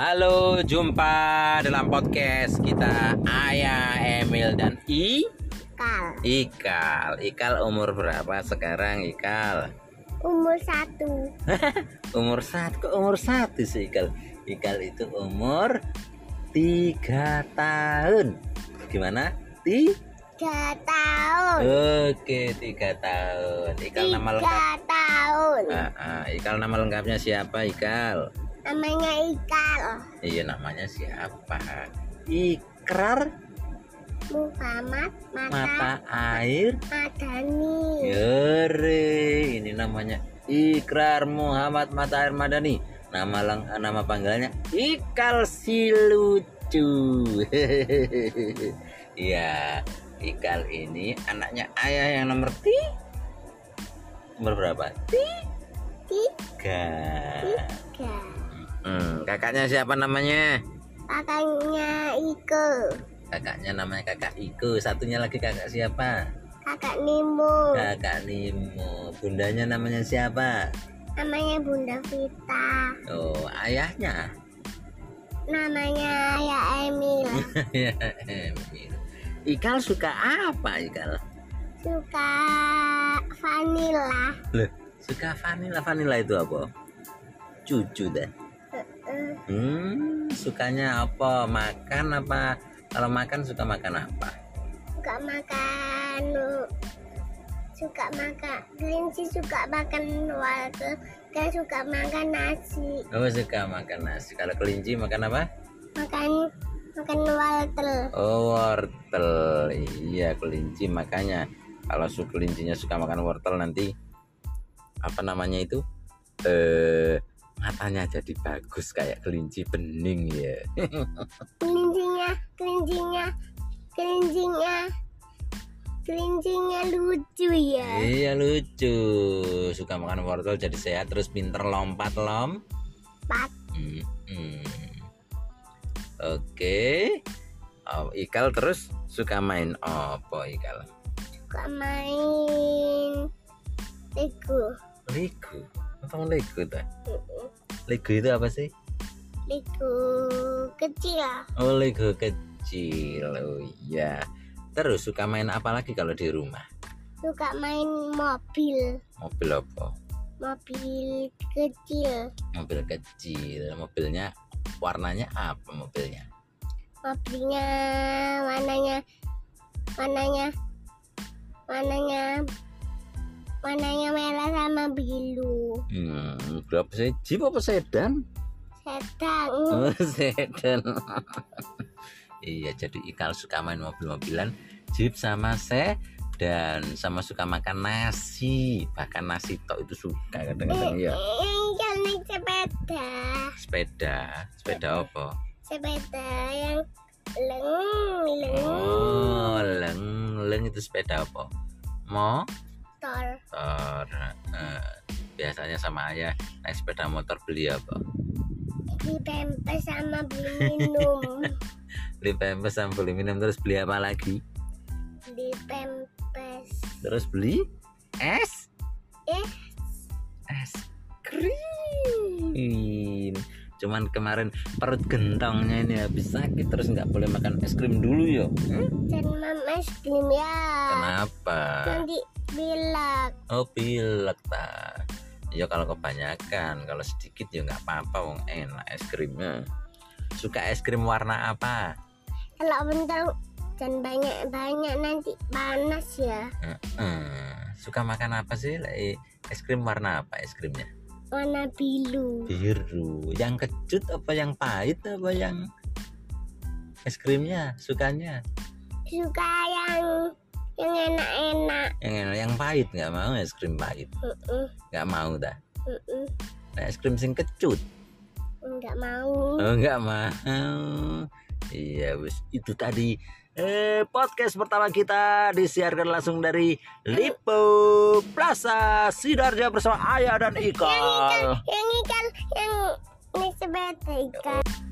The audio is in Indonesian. Halo, jumpa dalam podcast kita Ayah, Emil, dan I Kal. Ikal Ikal umur berapa sekarang Ikal? Umur satu. Umur satu, kok umur satu sih Ikal? Ikal itu umur tiga tahun Gimana? Ti? Tiga tahun. Oke, tiga tahun Ikal nama lengkap Tiga tahun. Ah, ah, Ikal nama lengkapnya siapa Ikal? Namanya Ikal. Iya namanya siapa? Ikrar Muhammad Mata, mata air Iya. Madani. Yore, ini namanya Ikrar Muhammad Mata Air Madani. Nama lang nama panggilannya Ikal si lucu. Iya, Ikal ini anaknya ayah yang nomor ti nomor berapa? Tiga. Tiga. Hmm, kakaknya siapa namanya? Kakaknya Iko. Kakaknya namanya kakak Iko. Satunya lagi kakak siapa? Kakak Nemo. Kakak Nimo. Bundanya namanya siapa? Namanya Bunda Vita. Oh, ayahnya. Namanya Ayah Emil. Ya, Emil. Ikal suka apa Ikal? Suka vanilla. Loh, suka vanila. Vanila itu apa? Cucu deh. Eh, Hmm, sukanya apa? Makan apa? Kalau makan suka makan apa? Suka makan. nu- Suka makan. Kelinci suka makan warteg. Dan suka makan nasi. Oh, suka makan nasi. Kalau kelinci makan apa? Makan makan warteg. Oh, wortel. Iya, kelinci makanya. Kalau su kelincinya suka makan wortel nanti apa namanya itu? Eh, matanya jadi bagus kayak kelinci bening ya. kelincinya kelincinya kelincinya kelincinya lucu ya Iya lucu, suka makan wortel jadi sehat terus pinter lompat lom. Pat. Mm-mm. Oke, Oh, Ikal terus suka main apa Ikal? suka main lego Lego, apa Lego tuh? Lego itu apa sih? lego kecil Oh Lego kecil, oh iya. Terus suka main apa lagi kalau di rumah? suka main mobil Mobil apa? mobil kecil Mobil kecil, mobilnya warnanya apa mobilnya? mobilnya warnanya warnanya warnanya warnanya merah sama biru Hmm, berapa sih? Jeep apa sedan? sedang Oh, sedan. iya, jadi Ikal suka main mobil-mobilan, jeep sama sedan, sama suka makan nasi, bahkan nasi tok itu suka kadang-kadang ya. Iya, naik sepeda. Sepeda, sepeda apa? Sepeda yang leng, leng, Oh, leng, leng itu sepeda apa? Motor. tol. Eh, biasanya sama ayah naik sepeda motor beli apa? Di pempes sama beli minum. Beli pempes sama beli minum terus beli apa lagi? Di pempes. Terus beli es? Eh, es krim cuman kemarin perut gentongnya ini habis sakit terus nggak boleh makan es krim dulu yo Hmm, dan mama es krim ya. kenapa Nanti bilang oh pilek ta ya kalau kebanyakan kalau sedikit ya nggak apa-apa wong enak es krimnya suka es krim warna apa kalau bentar dan banyak-banyak nanti panas ya. Hmm, suka makan apa sih Lai? es krim warna apa es krimnya Warna biru. biru yang kecut apa yang pahit apa yang es krimnya sukanya Suka yang yang enak-enak. yang enak- yang pahit nggak mau es krim pahit Mm-mm, nggak mau dah mm-mm. mm, nah, es krim sing kecut Nggak mau. oh nggak mau iya wis itu tadi eh, podcast pertama kita disiarkan langsung dari Lipo Plaza Sidoarjo bersama Ayah dan Ika. yang ikan yang naik sepeda ikan